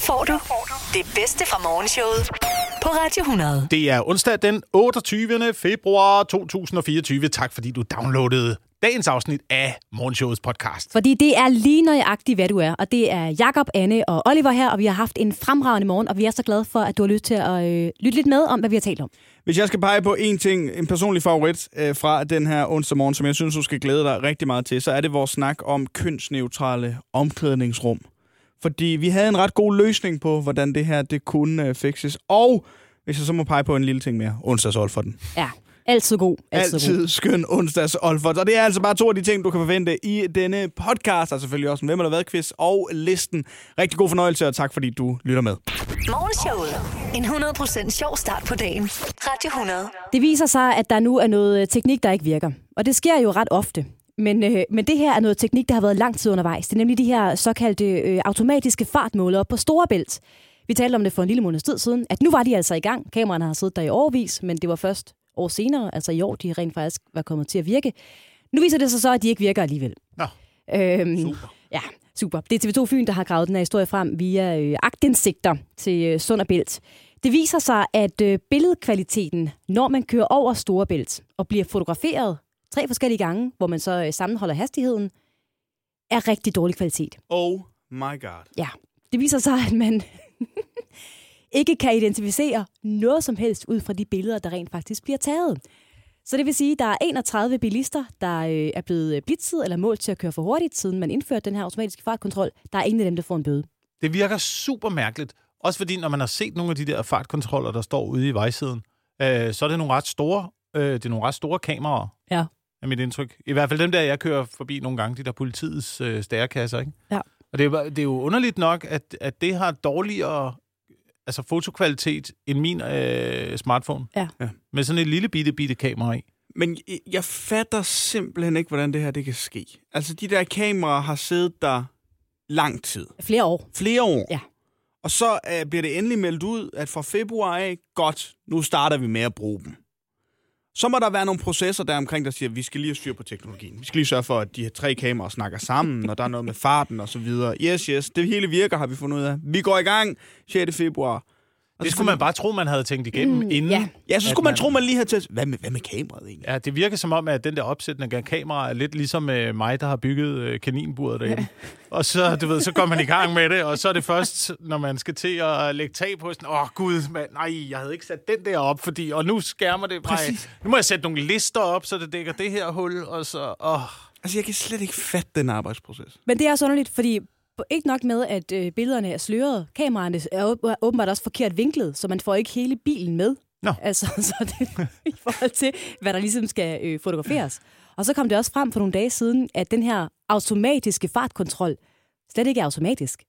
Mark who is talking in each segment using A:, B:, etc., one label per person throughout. A: får du det bedste fra morgenshowet på Radio 100.
B: Det er onsdag den 28. februar 2024. Tak fordi du downloadede dagens afsnit af Morgenshowets podcast.
C: Fordi det er lige nøjagtigt, hvad du er. Og det er Jakob, Anne og Oliver her, og vi har haft en fremragende morgen, og vi er så glade for, at du har lyst til at øh, lytte lidt med om, hvad vi har talt om.
D: Hvis jeg skal pege på en ting, en personlig favorit øh, fra den her onsdag morgen, som jeg synes, du skal glæde dig rigtig meget til, så er det vores snak om kønsneutrale omklædningsrum. Fordi vi havde en ret god løsning på, hvordan det her det kunne øh, fixes. Og hvis jeg så må pege på en lille ting mere, onsdags for den.
C: Ja, altid god. Altid, god.
D: Altid skøn onsdags Olfert. Og det er altså bare to af de ting, du kan forvente i denne podcast. Og selvfølgelig også en Hvem eller hvad quiz og listen. Rigtig god fornøjelse, og tak fordi du lytter med.
A: Morgenshowet. En 100% sjov start på dagen. Radio 100.
C: Det viser sig, at der nu er noget øh, teknik, der ikke virker. Og det sker jo ret ofte. Men, øh, men det her er noget teknik, der har været lang tid undervejs. Det er nemlig de her såkaldte øh, automatiske fartmålere på Storebælt. Vi talte om det for en lille måneds tid siden, at nu var de altså i gang. Kameraerne har siddet der i årvis, men det var først år senere, altså i år, de rent faktisk var kommet til at virke. Nu viser det sig så, at de ikke virker alligevel.
B: Nå,
C: Øhm,
B: super.
C: Ja, super. Det er TV2 Fyn, der har gravet den her historie frem via øh, agtindsigter til øh, Sund og Bælt. Det viser sig, at øh, billedkvaliteten, når man kører over Storebælt og bliver fotograferet tre forskellige gange, hvor man så øh, sammenholder hastigheden, er rigtig dårlig kvalitet.
D: Oh my god.
C: Ja, det viser sig, at man ikke kan identificere noget som helst ud fra de billeder, der rent faktisk bliver taget. Så det vil sige, at der er 31 bilister, der øh, er blevet blitzet eller målt til at køre for hurtigt, siden man indførte den her automatiske fartkontrol. Der er ingen af dem, der får en bøde.
B: Det virker super mærkeligt. Også fordi, når man har set nogle af de der fartkontroller, der står ude i vejsiden, øh, så er det nogle ret store, øh, det er nogle ret store kameraer,
C: Ja.
B: er mit indtryk. I hvert fald dem der, jeg kører forbi nogle gange, de der politiets øh, stærkasser, ikke?
C: Ja.
B: Og det er, jo- det er jo underligt nok, at, at det har dårligere altså fotokvalitet end min øh, smartphone.
C: Ja.
D: Ja.
B: Med sådan et lille bitte, bitte kamera i.
D: Men jeg- jeg fatter simpelthen ikke, hvordan det her det kan ske. Altså, de der kameraer har siddet der lang tid.
C: Flere år.
D: Flere år.
C: Ja.
D: Og så øh, bliver det endelig meldt ud, at fra februar af, godt, nu starter vi med at bruge dem. Så må der være nogle processer der omkring, der siger, at vi skal lige have styr på teknologien. Vi skal lige sørge for, at de her tre kameraer snakker sammen, og der er noget med farten og så videre. Yes, yes, det hele virker, har vi fundet ud af. Vi går i gang 6. februar. Og
B: Det
D: så-
B: skulle man bare tro, man havde tænkt igennem mm, inden.
C: ja.
D: Ja, så
B: at
D: skulle man
B: man-
D: tro, man lige havde tæt. Hvad med, hvad med kameraet egentlig?
B: Ja, det virker som om, at den der opsætning af kamera er lidt ligesom øh, mig, der har bygget øh, kaninburet derhjemme. og så, du ved, så går man i gang med det, og så er det først, når man skal til at lægge tag på, sådan, åh oh, gud, mand, nej, jeg havde ikke sat den der op, fordi, og nu skærmer det mig.
D: Præcis.
B: Nu må jeg sætte nogle lister op, så det dækker det her hul, og så, åh. Oh.
D: Altså, jeg kan slet ikke fatte den arbejdsproces.
C: Men det er også underligt, fordi på- ikke nok med, at øh, billederne er sløret. Kameraerne er åb- er åbenbart også forkert vinklet, så man får ikke hele bilen med.
B: Nå.
C: Altså, så det, i forhold til, hvad der ligesom skal øh, fotograferes. Og så kom det også frem for nogle dage siden, at den her automatiske fartkontrol slet ikke er automatisk.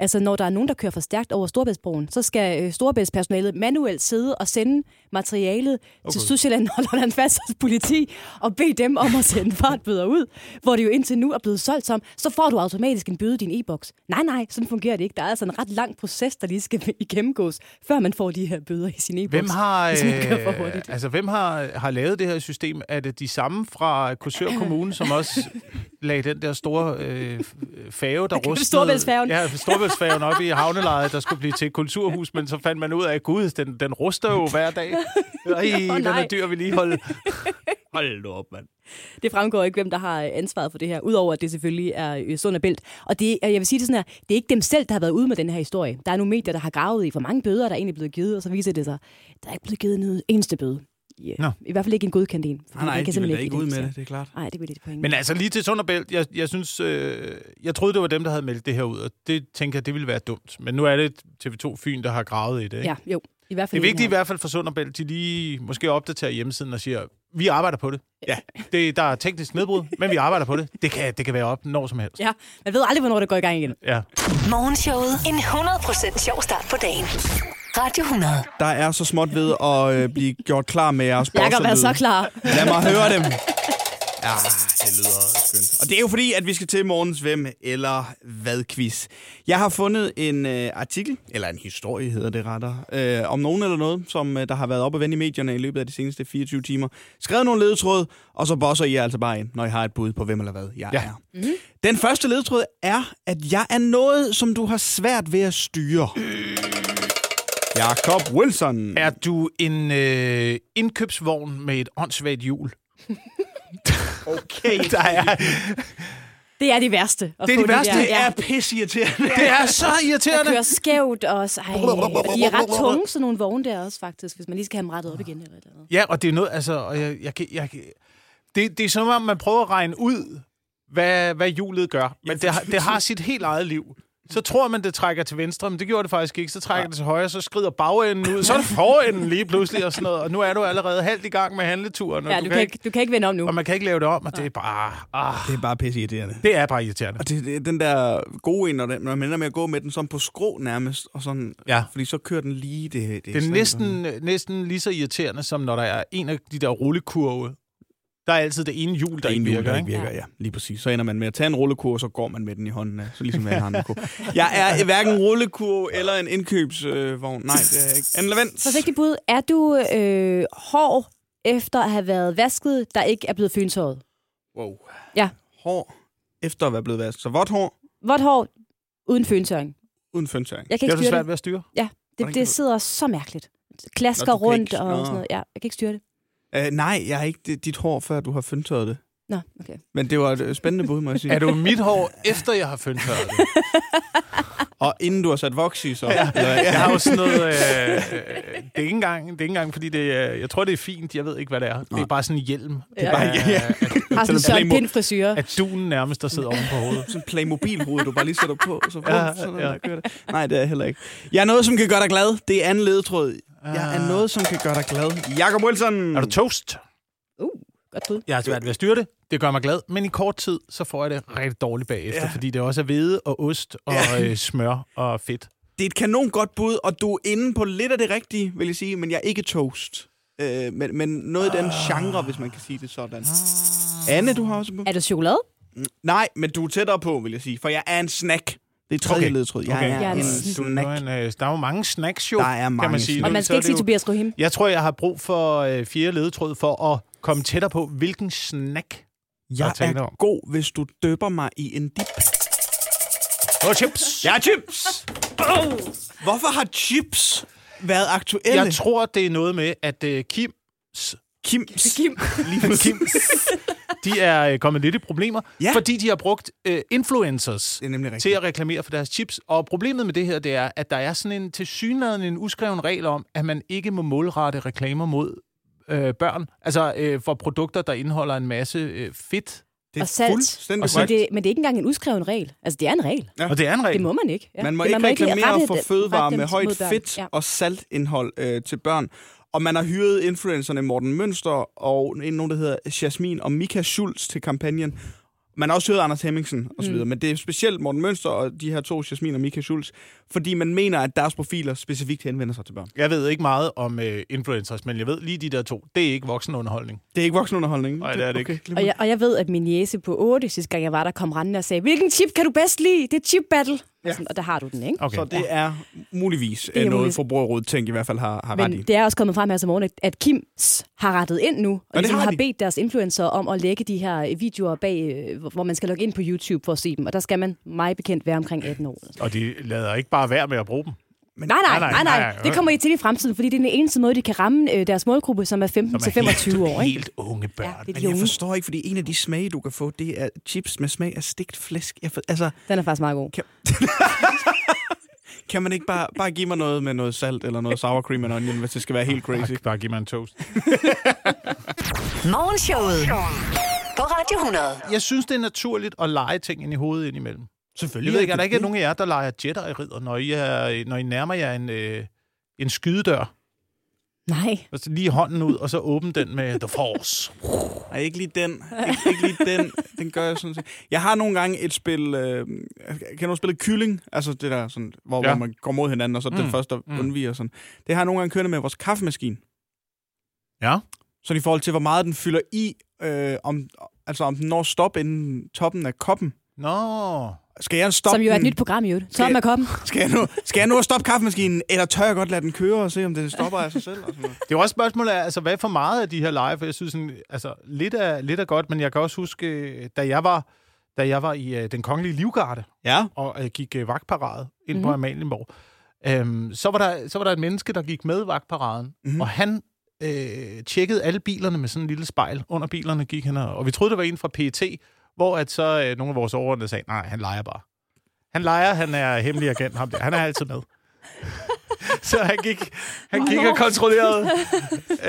C: Altså, når der er nogen, der kører for stærkt over Storbæltsbroen, så skal øh, Storbæltspersonalet manuelt sidde og sende materialet okay. til Sydsjælland og Lolland Falsters politi og bede dem om at sende fartbøder ud, hvor det jo indtil nu er blevet solgt som, så får du automatisk en bøde i din e-boks. Nej, nej, sådan fungerer det ikke. Der er altså en ret lang proces, der lige skal gennemgås, før man får de her bøder i sin e-boks.
B: Hvem har,
C: hvis man kører for
B: øh,
C: hurtigt.
B: altså, hvem har, har lavet det her system? Er det de samme fra Korsør Kommune, som også lagde den der store øh, f- fave, der rustede?
C: Storebæltsfærgen.
B: Ja, Storbæltsfærgen oppe i havnelejet, der skulle blive til et kulturhus, men så fandt man ud af, gud, den, den ruster jo hver dag. Ej,
C: Åh,
B: oh, den
C: nej.
B: er dyr at vedligeholde.
D: Hold nu op, mand.
C: Det fremgår ikke, hvem der har øh, ansvaret for det her, udover at det selvfølgelig er øh, Sund og Bælt. Og det, er- jeg vil sige det sådan her, det er ikke dem selv, der har været ude med den her historie. Der er nogle medier, der har gravet i, hvor mange bøder der er egentlig blevet givet, og så viser det sig, der er ikke blevet givet noget eneste bøde.
B: Nå.
C: Yeah. I hvert fald ikke en godkendt en. fordi
D: Nej, nej,
C: den kan
D: de vil da
C: simpelthen
D: ikke ud med
C: identificere.
D: det, det er klart.
C: Nej, det vil det pointe.
B: Men altså lige til Sund og Bælt, jeg, jeg synes, øh, jeg troede, det var dem, der havde meldt det her ud, og det tænker jeg, det ville være dumt. Men nu er det TV2 Fyn, der har gravet i det. Ikke?
C: Ja, jo. I hvert
B: øh, Det
C: fald
B: er vigtigt i
C: en her.
B: hvert fald for Sund og Bælt, de lige måske opdaterer hjemmesiden og siger, vi arbejder på det.
D: Ja.
B: det der er teknisk nedbrud, men vi arbejder på det. Det kan, det kan være op når som helst.
C: Ja, man ved aldrig, hvornår det går i gang igen.
B: Ja.
A: Morgenshowet. En 100% sjov start på dagen. Radio 100.
D: Der er så småt ved at øh, blive gjort klar med jeres
C: Jakob er
D: bosserlyd.
C: så klar.
D: Lad mig høre dem. Ja, det lyder skønt. Og det er jo fordi, at vi skal til morgens hvem eller hvad quiz. Jeg har fundet en øh, artikel, eller en historie hedder det retter, øh, om nogen eller noget, som øh, der har været op og vende i medierne i løbet af de seneste 24 timer. Skrevet nogle ledetråd, og så bosser I altså bare ind, når I har et bud på hvem eller hvad jeg ja.
B: Ja.
D: er. Mm. Den første ledetråd er, at jeg er noget, som du har svært ved at styre. Jakob Wilson.
B: Er du en øh, indkøbsvogn med et åndssvagt hjul? okay. Der er,
C: Det er det værste. At
B: det er
C: få
B: det værste.
C: der.
B: Det er
C: Ja.
B: pisseirriterende. Det er så
C: Der kører
B: irriterende.
C: skævt også. Ej, og de er ret tunge, sådan nogle vogne der også, faktisk, hvis man lige skal have dem rettet op igen. Eller et eller andet.
B: Ja, og det er noget, altså... Og jeg, jeg, kan- jeg, kan- det, det er som om, man prøver at regne ud, hvad, hvad hjulet gør. Men det, har- det har sit helt eget liv. Så tror man, det trækker til venstre, men det gjorde det faktisk ikke. Så trækker det til højre, så skrider bagenden ud, så er det forenden lige pludselig og sådan noget. Og nu er du allerede halvt i gang med handleturen, og,
C: Ja, du, kan ikke, du kan ikke vende om nu.
B: og man kan ikke lave det om, og det er bare... Ah,
D: Det er bare pisse irriterende.
B: det er bare irriterende.
D: Og det, det, den der gode en, når, den, når man ender med at gå med den sådan på skrå nærmest, og sådan,
B: Ja.
D: fordi så kører den lige det. Det,
B: Det er
D: ekstreme.
B: næsten, næsten lige så irriterende, som når der er en af de der rullekurve. Der er altid det ene hjul, der
D: der
B: ikke
D: en hjul,
B: virker,
D: der ikke
B: ikke?
D: virker, ja. Lige præcis. Så ender man med at tage en rullekurv, og så går man med den i hånden. ja. Så ligesom jeg har en kurv. Jeg er hverken rullekurv eller en indkøbsvogn. Nej, det er jeg ikke. Anne Lavendt.
C: Forsigtig bud. Er du øh, hård efter at have været vasket, der ikke er blevet fyntåret?
D: Wow.
C: Ja.
D: Hår efter at være blevet vasket. Så vådt hår
C: Vådt hår uden fyntøring.
D: uden føntøring.
C: Jeg kan
B: Det
C: ikke
B: er du
C: styre
B: svært
C: det.
B: ved at styre.
D: Hvordan
C: Det,
D: kan
C: det
D: du-
C: sidder så mærkeligt. Klasker
D: Nå, du kan
C: rundt
D: ikke-
C: og
D: Nå.
C: sådan noget. Ja, jeg kan ikke styre det.
D: Øh, nej, jeg har ikke det- dit hår, før du har føntøjet det.
C: Nå, okay.
D: Men det var et øh, spændende bud, må jeg sige.
B: Er du mit hår, efter jeg har føntørret det?
D: Og inden du har sat voks i, så. Ja.
B: Jeg har jo sådan noget... Øh, øh, det, er ikke engang, det er ikke engang, fordi det er... Jeg tror, det er fint. Jeg ved ikke, hvad det er. Det er bare sådan en hjelm. Det
C: Ja.
B: er bare en hjelm.
C: Har sådan en
D: Så er det
C: Søren
D: Playmo-
C: Pind frisyrer.
B: At dunen nærmest, der sidder oven på hovedet.
D: sådan en Playmobil-hoved, du bare lige sætter på, og så,
B: Ja,
D: ja, så ja.
B: ja.
D: Der kører det. Nej, det er jeg heller ikke. Jeg er noget, som kan gøre dig glad. Det er anden ledetråd. Jeg er noget, som kan gøre dig glad. Jakob Wilson.
B: Ah. Er du toast?
C: Uh, godt bud.
B: Mm. Jeg har svært ved at styre det. Det gør mig glad. Men i kort tid, så får jeg det rigtig dårligt bagefter,
D: Ja.
B: ja. fordi det også er hvede og ost og
D: Ja.
B: øh, smør og fedt.
D: det er et kanon godt bud, og du er inde på lidt af det rigtige, vil jeg sige, men jeg er ikke toast. Øh, men, men noget i den
B: Ah.
D: genre, hvis man kan sige det sådan. Anne, du har også et bud.
C: Er det chokolade?
D: Nej, men du er tættere på, vil jeg sige, for jeg er en snack. Det er tredje
B: Okay.
D: ledetråd. Jeg
B: Okay.
D: er
C: Jeg er
D: en
C: en
B: Du er
D: snack.
B: en, øh, der er jo mange snacks, jo,
D: Der er mange
B: kan man sige.
D: snacks.
C: Og man
B: Så
C: skal
B: er
C: ikke
B: det
C: sige
B: jo-
C: Tobias Rahim.
B: Jeg tror, jeg har brug for øh, fire ledetråd for at komme tættere på, hvilken snack
D: Jeg
B: Jeg tænker
D: er
B: om.
D: god, hvis du døber mig i en dip.
B: og chips.
D: Jeg er chips! Hvorfor har chips været aktuelle?
B: Jeg tror, det er noget med, at øh, Kim,
D: Kims.
C: Kim.
D: Lige Kims.
B: de er øh, kommet lidt i problemer,
D: Ja.
B: ja. fordi de har brugt øh, influencers
D: Det er nemlig
B: til
D: rigtigt.
B: at reklamere for deres chips. Og problemet med det her, det er, at der er sådan en tilsyneladende en uskreven regel om, at man ikke må målrette reklamer mod øh, børn. Altså øh, for produkter, der indeholder en masse øh, fedt.
D: Det
C: Og salt.
D: fuldstændig
B: Og
C: Men
B: salt.
D: korrekt.
C: det, men det er ikke engang en udskreven regel. Altså, det er en regel.
D: Ja.
B: Og det er en regel.
C: Det må man ikke. Ja.
D: Man må
C: Det-
D: ikke reklamere
C: rette
D: for
C: det-
D: fødevarer
C: rette dem
D: med
C: til- mod
D: højt
C: børn.
D: fedt
C: Ja.
D: og saltindhold øh, til børn. Og man har hyret influencerne Morten Mønster og en, nogen, der hedder Jasmin og Mika Schulz til kampagnen. Man har også hørt Anders Hemmingsen osv., mm. men det er specielt Morten Mønster og de her to, Jasmin og Mika Schulz, fordi man mener, at deres profiler specifikt henvender sig til børn.
B: Jeg ved ikke meget om øh, influencers, men jeg ved lige de der to. Det er ikke voksenunderholdning.
D: Det er ikke voksenunderholdning.
B: Nej, det er det ikke.
D: glem
C: Og jeg, og jeg ved, at min jæse på 8, sidste gang jeg var der, kom rendende og sagde, hvilken chip kan du bedst lide? Det er chip battle. Ja. Sådan, og der har du den, ikke?
B: Okay.
D: Så det er muligvis
C: er
D: det er noget,
C: muligt.
D: Forbrugerrådet Tænk i hvert fald har, har ret i.
C: Men det er også kommet frem her til morgen, at- at Kims har rettet ind nu, og
D: det
C: ligesom
D: har
C: har
D: de.
C: bedt deres influencer om at lægge de her øh, videoer bag, øh, hvor hvor man skal logge ind på YouTube for at se dem. Og der skal man, mig bekendt, være omkring 18 år.
B: Og de lader ikke bare være med at bruge dem.
C: Men, nej, nej, nej, nej, nej, nej. Det kommer I til i fremtiden, fordi det er den eneste måde, de kan ramme øh, deres målgruppe, som er 15-25 år. Ikke?
B: Helt unge børn.
C: Ja, det er
D: Men
C: de
D: jeg
C: unge.
D: forstår ikke, fordi en af de smage, du kan få, det er chips med smag af stegt flæsk. Jeg for, altså,
C: Den er faktisk meget god.
D: kan man ikke bare, bare give mig noget med noget salt eller noget sour cream and onion, hvis det skal være helt crazy?
B: Bare, bare give mig en toast.
A: Morgenshowet på Radio 100.
B: Jeg synes, det er naturligt at lege ting ind i hovedet indimellem.
D: Selvfølgelig.
B: Jeg ved ikke, er der ikke nogen af jer, der leger Jedi-ridder, når I, er, når I nærmer jer en, øh, en skydedør?
C: Nej.
B: Altså lige hånden ud, og så åbne den med The Force.
D: Nej, ikke lige den. Ikke, ikke lige den. Den gør jeg sådan set. Jeg har nogle gange et spil... Øh, kan du spille kylling? Altså det der, sådan, hvor, ja.
B: Ja.
D: hvor man går mod hinanden, og så mm. den
B: Mm.
D: første, der
B: Mm.
D: undviger. Sådan. Det har jeg nogle gange kørende med vores kaffemaskine.
B: Ja.
D: Sådan i forhold til, hvor meget den fylder i, øh, om, Altså om den når stop inden toppen af koppen.
B: Nå.
D: Skal jeg stoppe
C: Som jo er et
D: den?
C: nyt program i øvrigt. Tom er kommet.
D: Skal jeg, nu, skal jeg nu stoppe kaffemaskinen, eller tør jeg godt lade den køre og se, om den stopper af sig selv? Og sådan noget?
B: Det er jo også spørgsmålet, altså, hvad for meget af de her live? For jeg synes, sådan, altså, lidt, er, lidt er godt, men jeg kan også huske, øh, da jeg var, da jeg var i øh, den kongelige livgarde
D: Ja.
B: og øh, gik øh, vagtparade ind mm-hmm. på Amalienborg, øhm, så, var der, så var der et menneske, der gik med vagtparaden,
D: Mhm.
B: mm-hmm. og han øh, tjekkede alle bilerne med sådan en lille spejl. Under bilerne gik han, og og vi troede, det var en fra PET, hvor at så øh, nogle af vores overordnede sagde, nej, han leger bare. Han leger, han er hemmelig agent, ham der. han er altid med. Så han gik, han gik og kontrollerede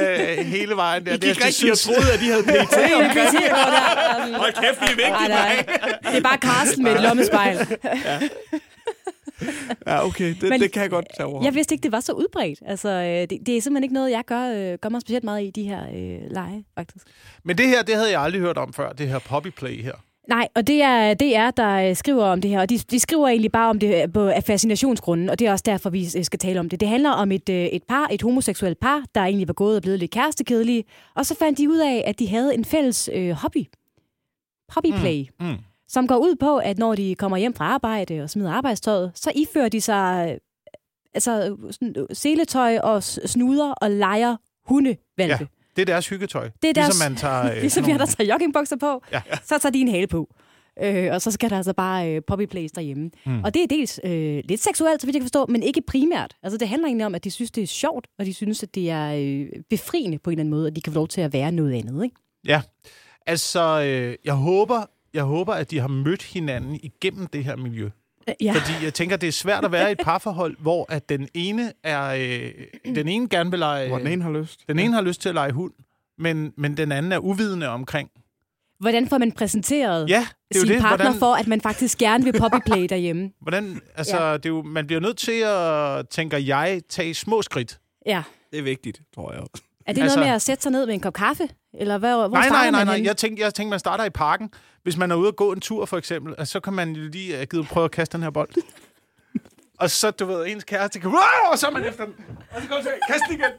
B: øh, hele vejen der.
D: Det gik
B: er-
D: rigtigt, jeg troede, at de havde E PT.
C: Det er det, jeg går der.
D: Hold kæft, vi er
C: Ej,
D: vigtige,
C: nej. Det er bare Carsten med et lommespejl.
D: Ja, okay, det,
C: Men-
D: det kan jeg godt tage over.
C: Jeg vidste ikke, det var så udbredt. Altså, øh, det, det er simpelthen ikke noget, jeg gør, øh, gør mig specielt meget i de her øh, lege, faktisk.
B: Men det her, det havde jeg aldrig hørt om før, det her poppyplay her.
C: Nej, og det er DR, der øh, skriver om det her, og de, de skriver egentlig bare om det øh, på af fascinationsgrunden, og det er også derfor, vi øh, skal tale om det. Det handler om et, øh, et par, et homoseksuelt par, der egentlig var gået og blevet lidt kærestekedelige, og så fandt de ud af, at de havde en fælles øh, hobby. Hobbyplay. Mm,
B: mm.
C: Som går ud på, at når de kommer hjem fra arbejde og smider arbejdstøjet, så ifører de sig øh, altså, øh, sådan, øh, seletøj og s- snuder og leger hundevalpe. Ja.
B: Det er deres hyggetøj.
C: Det er deres-
B: Ligesom man tager... Øh,
C: Ligesom
B: sådan
C: jeg, der
B: nogle-
C: tager joggingbukser på,
B: Ja.
C: så tager de en hale på. Øh, og så skal der altså bare øh, poppy plays derhjemme. Mm. Og det er dels øh, lidt seksuelt, så vidt jeg kan forstå, men ikke primært. Altså det handler egentlig om, at de synes, det er sjovt, og de synes, at det er øh, befriende på en eller anden måde, at de kan få lov til at være noget andet. Ikke?
B: Ja. Altså, øh, jeg, håber, jeg håber, at de har mødt hinanden igennem det her miljø.
C: Ja.
B: Fordi jeg tænker, det er svært at være i et parforhold, hvor at den ene er øh, den ene gerne vil lege,
D: Hvor den ene har lyst.
B: den ene har lyst til at lege hund, men, men den anden er uvidende omkring.
C: Hvordan får man præsenteret
B: Ja, det er jo
C: sin
B: det.
C: partner
B: Hvordan,
C: for, at man faktisk gerne vil poppy play derhjemme?
B: hvordan, altså,
C: Ja.
B: ja. det er jo, man bliver nødt til at, tænker jeg, tage små skridt.
C: Ja.
D: Det er vigtigt, tror jeg.
C: Er det altså...
B: Altså-
C: noget med at sætte sig ned med en kop kaffe? Eller hvad, hvor
B: nej,
C: starter
B: nej, nej,
C: man
B: nej.
C: henne?
B: Jeg tænkte, jeg tænkte, man starter i parken. Hvis man er ude og gå en tur, for eksempel, og så kan man jo lige uh, give prøve at kaste den her bold. og så, du ved, ens kæreste kan... Wow! Og så er man efter den. Og så kommer man til, kast den igen.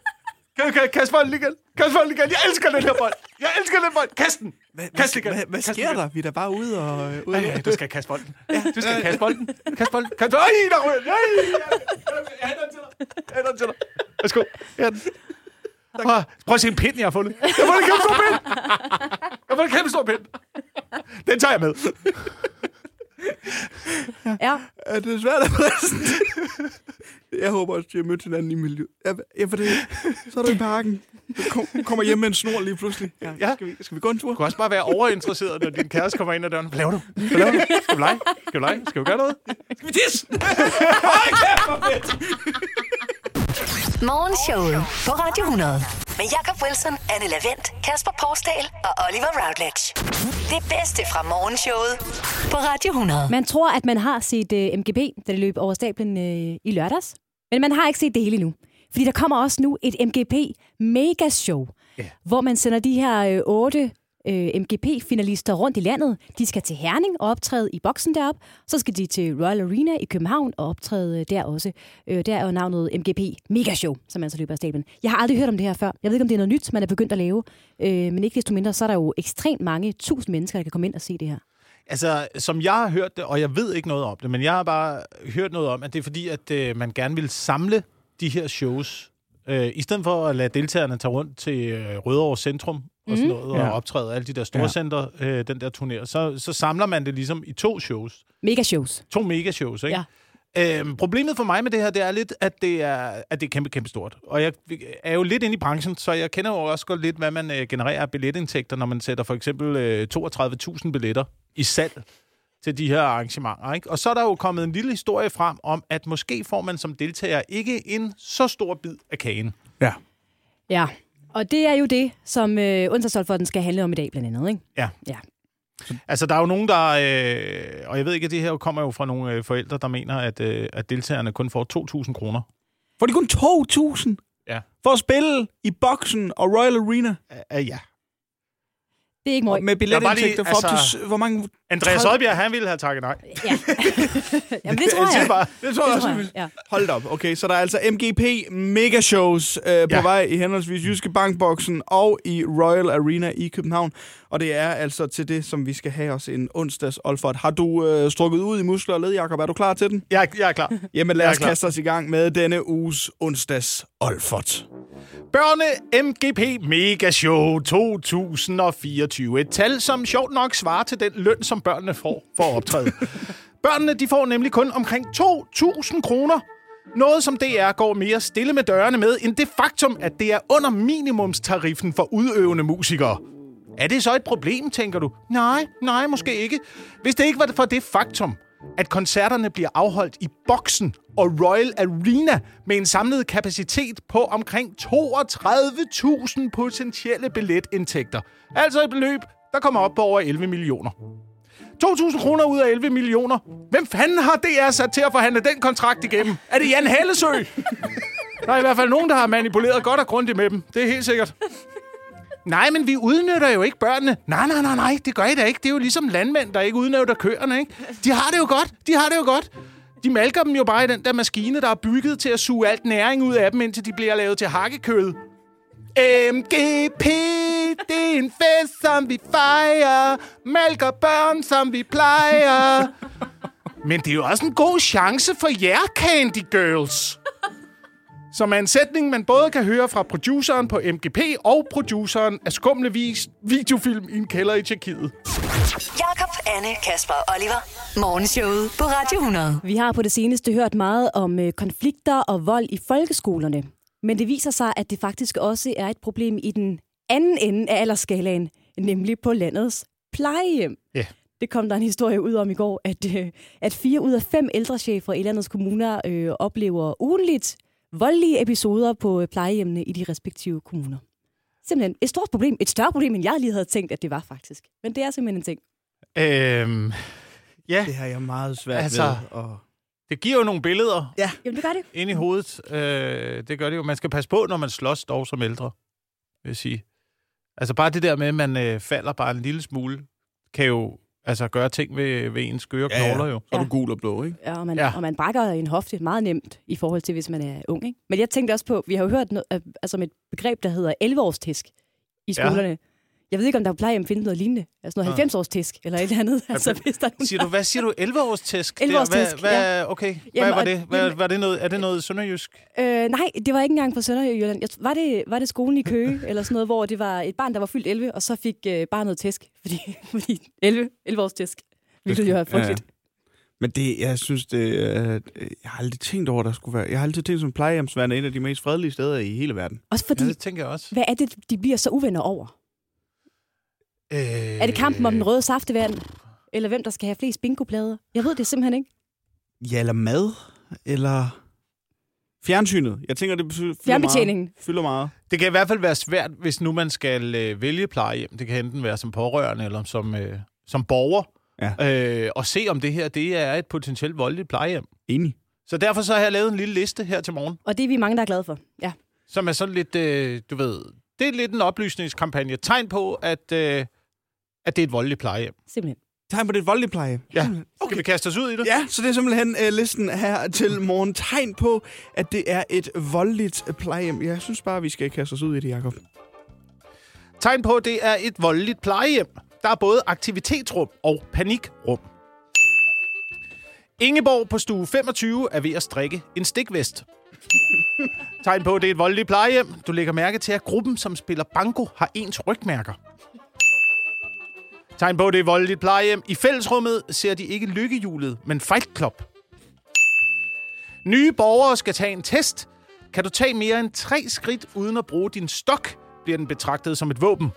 B: Kan, kan, kast bolden igen. Kast bolden igen. Jeg elsker den her bold. Jeg elsker den bold. Kast den. Kast den igen.
D: Hvad, hvad
B: Kast den
D: sker
B: igen.
D: der? Vi er da bare ude og... Øh, ude.
B: Ej, ej, du skal kaste bolden. Ja, du skal kaste bolden. Kast bolden. Kast bolden. Ej, der ryger den. Ej, jeg hænder den til dig. Jeg hænder den til dig. Værsgo. Jeg har den. Prøv, prøv at se en pind, jeg har fundet. Jeg har fundet en kæmpe stor pind. Jeg har fundet en kæmpe stor pind. Den tager jeg med.
C: Ja.
D: Ja, det er svært at præsentere. Jeg håber også, de har mødt hinanden i miljøet. Ja, ja, for det, så er du i parken. Du kom, kommer hjem med en snor lige pludselig. Ja,
B: Ja.
D: Skal, vi, skal vi gå en tur?
B: Du kan også bare være overinteresseret, når din kæreste kommer ind ad døren. Hvad laver du? Hvad laver du? Skal vi lege? Skal vi lege? Skal vi gøre noget?
D: Skal vi tisse?
A: Morgenshowet på Radio 100. Med Jakob Wilson, Anne Lavendt, Kasper Porsdal og Oliver Routledge. Det bedste fra morgenshowet på Radio 100.
C: Man tror, at man har set uh, MGB, da det løb over stablen uh, i lørdags. Men man har ikke set det hele endnu. Fordi der kommer også nu et MGP megashow, yeah. hvor man sender de her øh, otte øh, MGP-finalister rundt i landet. De skal til Herning og optræde i boksen deroppe. Så skal de til Royal Arena i København og optræde øh, der også. Øh, der er jo navnet MGP Megashow, som man så løber af stablen. Jeg har aldrig hørt om det her før. Jeg ved ikke, om det er noget nyt, man er begyndt at lave. Øh, men ikke desto mindre, så er der jo ekstremt mange tusind mennesker, der kan komme ind og se det her.
B: Altså, som jeg har hørt det, og jeg ved ikke noget om det, men jeg har bare hørt noget om, at det er fordi, at øh, man gerne vil samle de her shows. Øh, I stedet for at lade deltagerne tage rundt til øh, Rødovre Centrum og sådan noget,
D: Mm. Ja.
B: og optræde alle de der storcenter, øh, den der turnéer, så, så samler man det ligesom i to shows.
C: Megashows.
B: To megashows, ikke? Ja. Øhm, problemet for mig med det her, det er lidt, at det er, at det er kæmpe, kæmpe stort. Og jeg er jo lidt inde i branchen, så jeg kender jo også godt lidt, hvad man øh, genererer af billetindtægter, når man sætter for eksempel øh, 32.000 billetter i salg til de her arrangementer. Ikke? Og så er der jo kommet en lille historie frem om, at måske får man som deltager ikke en så stor bid af kagen.
D: Ja.
C: Ja, og det er jo det, som øh, Onsdagsholdfonden skal handle om i dag, blandt andet. Ikke?
B: Ja.
C: Ja.
B: Altså, der er jo nogen, der... Øh, og jeg ved ikke, at det her kommer jo fra nogle øh, forældre, der mener, at, øh, at deltagerne kun får 2.000 kroner.
D: Får de kun 2.000
B: Ja.
D: for at spille i boksen og Royal Arena?
B: Uh, ja.
C: Det er ikke møg.
D: Med
B: Jeg var bare lige-
D: billetindtægter for op
B: altså-
D: til... s- Hvor mange
B: Andreas Oddbjerg, han ville have takket nej.
C: Ja. Jamen, det tror
B: siger
C: jeg.
B: bare,
D: Det tror jeg også,
C: tror
D: jeg
C: jeg,
D: vil. Ja.
C: ja.
D: Hold da op. Okay, så der er altså MGP megashows øh, på
B: Ja.
D: vej i henholdsvis Jyske Bankboksen og i Royal Arena i København. Og det er altså til det, som vi skal have os en onsdags, Olfert. Har du øh, strukket ud i muskler og led, Jacob? Er du klar til den?
B: Jeg, jeg er klar.
D: Jamen lad
B: Jeg er
D: os
B: klar.
D: kaste os i gang med denne uges onsdags, Olfert.
B: Børne MGP Mega Show 2024. Et tal, som sjovt nok svarer til den løn, som børnene får for at optræde. Børnene de får nemlig kun omkring 2.000 kroner. Noget, som DR går mere stille med dørene med, end det faktum, at det er under minimumstariffen for udøvende musikere. Er det så et problem, tænker du? Nej, nej, måske ikke. Hvis det ikke var for det faktum, at koncerterne bliver afholdt i Boksen og Royal Arena med en samlet kapacitet på omkring 32.000 potentielle billetindtægter. Altså et beløb, der kommer op på over 11 millioner. 2.000 kroner ud af 11 millioner. Hvem fanden har DR sat til at forhandle den kontrakt igennem? Er det Jan Hellesø? Der er i hvert fald nogen, der har manipuleret godt og grundigt med dem. Det er helt sikkert. Nej, men vi udnytter jo ikke børnene. Nej, nej, nej, nej, det gør I da ikke. Det er jo ligesom landmænd, der ikke udnytter køerne, ikke? De har det jo godt, de har det jo godt. De malker dem jo bare i den der maskine, der er bygget til at suge alt næring ud af dem, indtil de bliver lavet til hakkekød. MGP, det er en fest, som vi fejrer. Malker børn, som vi plejer. Men det er jo også en god chance for jer, Candy Girls som er en sætning, man både kan høre fra produceren på MGP og produceren af skumlevis videofilm i en kælder i Tjekkiet.
A: Jakob, Anne, Kasper og Oliver. Morgenshowet på Radio 100.
C: Vi har på det seneste hørt meget om øh, konflikter og vold i folkeskolerne. Men det viser sig, at det faktisk også er et problem i den anden ende af aldersskalaen, nemlig på landets plejehjem.
B: Ja.
C: Det kom der en historie ud om i går, at, øh, at fire ud af fem ældrechefer i landets kommuner øh, oplever ugenligt voldelige episoder på øh, plejehjemmene i de respektive kommuner. Simpelthen et stort problem. Et større problem, end jeg lige havde tænkt, at det var faktisk. Men det er simpelthen en ting.
B: Øhm, ja,
D: Det har jeg meget svært
B: Altså-
D: ved. Og...
B: det giver jo nogle billeder
C: Jamen, det gør det.
B: ind i hovedet. Øh, det gør det jo. Man skal passe på, når man slås dog som ældre, vil jeg sige. Altså bare det der med, at man øh, falder bare en lille smule, kan jo altså gøre ting ved, ved ens skøre
D: Ja, ja.
B: knogler jo.
D: Så er du
C: Ja.
D: gul og blå, ikke?
C: Ja, Øh, og man,
B: Ja.
C: ja. og man brækker en hofte meget nemt i forhold til, hvis man er ung. Ikke? Men jeg tænkte også på, vi har jo hørt noget, øh, altså om et begreb, der hedder 11-års-tæsk i
B: Ja.
C: skolerne. Jeg ved ikke, om der plejer at finde noget lignende. Altså noget 90-års-tæsk eller et eller andet. Altså, hvis der er nogen,
B: Siger du, hvad siger du? 11-års tæsk?
C: 11-års-tæsk,
B: hvad, hvad, Okay, hvad
C: Jamen,
B: var
C: og-
B: det? Hvad,
C: jamen-
B: var det noget, er det noget sønderjysk?
C: Øh, nej, det var ikke engang på Sønderjylland. Jeg, var, det, var det skolen i Køge, eller sådan noget, hvor det var et barn, der var fyldt 11, og så fik øh, barnet tæsk, fordi, fordi 11, 11-års-tæsk, hvilket jo er frygteligt.
D: Men det, jeg synes, det, øh, jeg har aldrig tænkt over, der skulle være... Jeg har altid tænkt som plejehjemsværende er en af de mest fredelige steder i hele verden.
C: Også
B: Ja,
C: fordi,
B: det tænker jeg også.
C: hvad er det, de bliver så uvenner over?
B: Øh,
C: Er det kampen om den røde saftevand? Eller hvem, der skal have flest bingoplader? Jeg ved det simpelthen ikke.
D: Ja, eller mad, eller fjernsynet. Jeg tænker, det betyder
C: Fjernbetjeningen.
D: Meget. Fylder meget.
B: Det kan i hvert fald være svært, hvis nu man skal øh, vælge plejehjem. Det kan enten være som pårørende eller som, øh, som borger. Ja. Øh, og se, om det her det er et potentielt voldeligt plejehjem.
D: Enig.
B: Så derfor så har jeg lavet en lille liste her til morgen,
C: Og det er vi mange, der er glade for. Ja.
B: som er sådan lidt, øh, du ved... Det er lidt en oplysningskampagne. Et Tegn på, at, øh, at det er et voldeligt plejehjem.
C: Simpelthen.
D: Tegn på det voldelige pleje.
B: Ja. Okay. Skal vi kaste os ud i det?
D: Ja, så det er simpelthen øh, listen her til morgen. Tegn på, at det er et voldeligt plejehjem. Jeg synes bare, vi skal kaste os ud i det, Jacob.
B: Tegn på, at det er et voldeligt plejehjem. Der er både aktivitetsrum og panikrum. Ingeborg på stue 25 er ved at strikke en stikvest. Tegn på, at det er et voldeligt plejehjem. Du lægger mærke til, at gruppen, som spiller banko, har ens rygmærker. Tegn på, at det er et voldeligt plejehjem. I fællesrummet ser de ikke lykkehjulet, men Fight Club. Nye borgere skal tage en test. Kan du tage mere end tre skridt uden at bruge din stok, bliver den betragtet som et våben.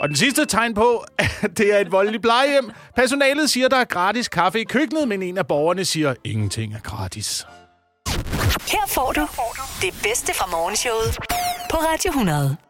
B: Og den sidste tegn på, at det er et voldeligt plejehjem. Personalet siger, der er gratis kaffe i køkkenet, men en af borgerne siger, ingenting er gratis.
A: Her får du det bedste fra morgenshowet på Radio 100.